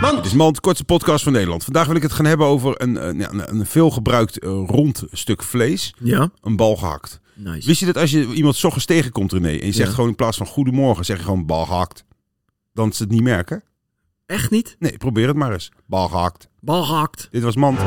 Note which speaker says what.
Speaker 1: Man, het is Mand, kortste podcast van Nederland. Vandaag wil ik het gaan hebben over een, eh, ja, een, een veelgebruikt eh, rond stuk vlees.
Speaker 2: Ja,
Speaker 1: Een bal gehakt.
Speaker 2: nice.
Speaker 1: Wist je dat als je iemand 's ochtends tegenkomt, René, en je zegt
Speaker 2: Ja.
Speaker 1: gewoon in plaats van goedemorgen, zeg je gewoon bal gehakt. Dan ze het niet merken.
Speaker 2: Echt niet?
Speaker 1: Nee, probeer het maar eens. Bal gehakt.
Speaker 2: Bal gehakt.
Speaker 1: Dit was Mand.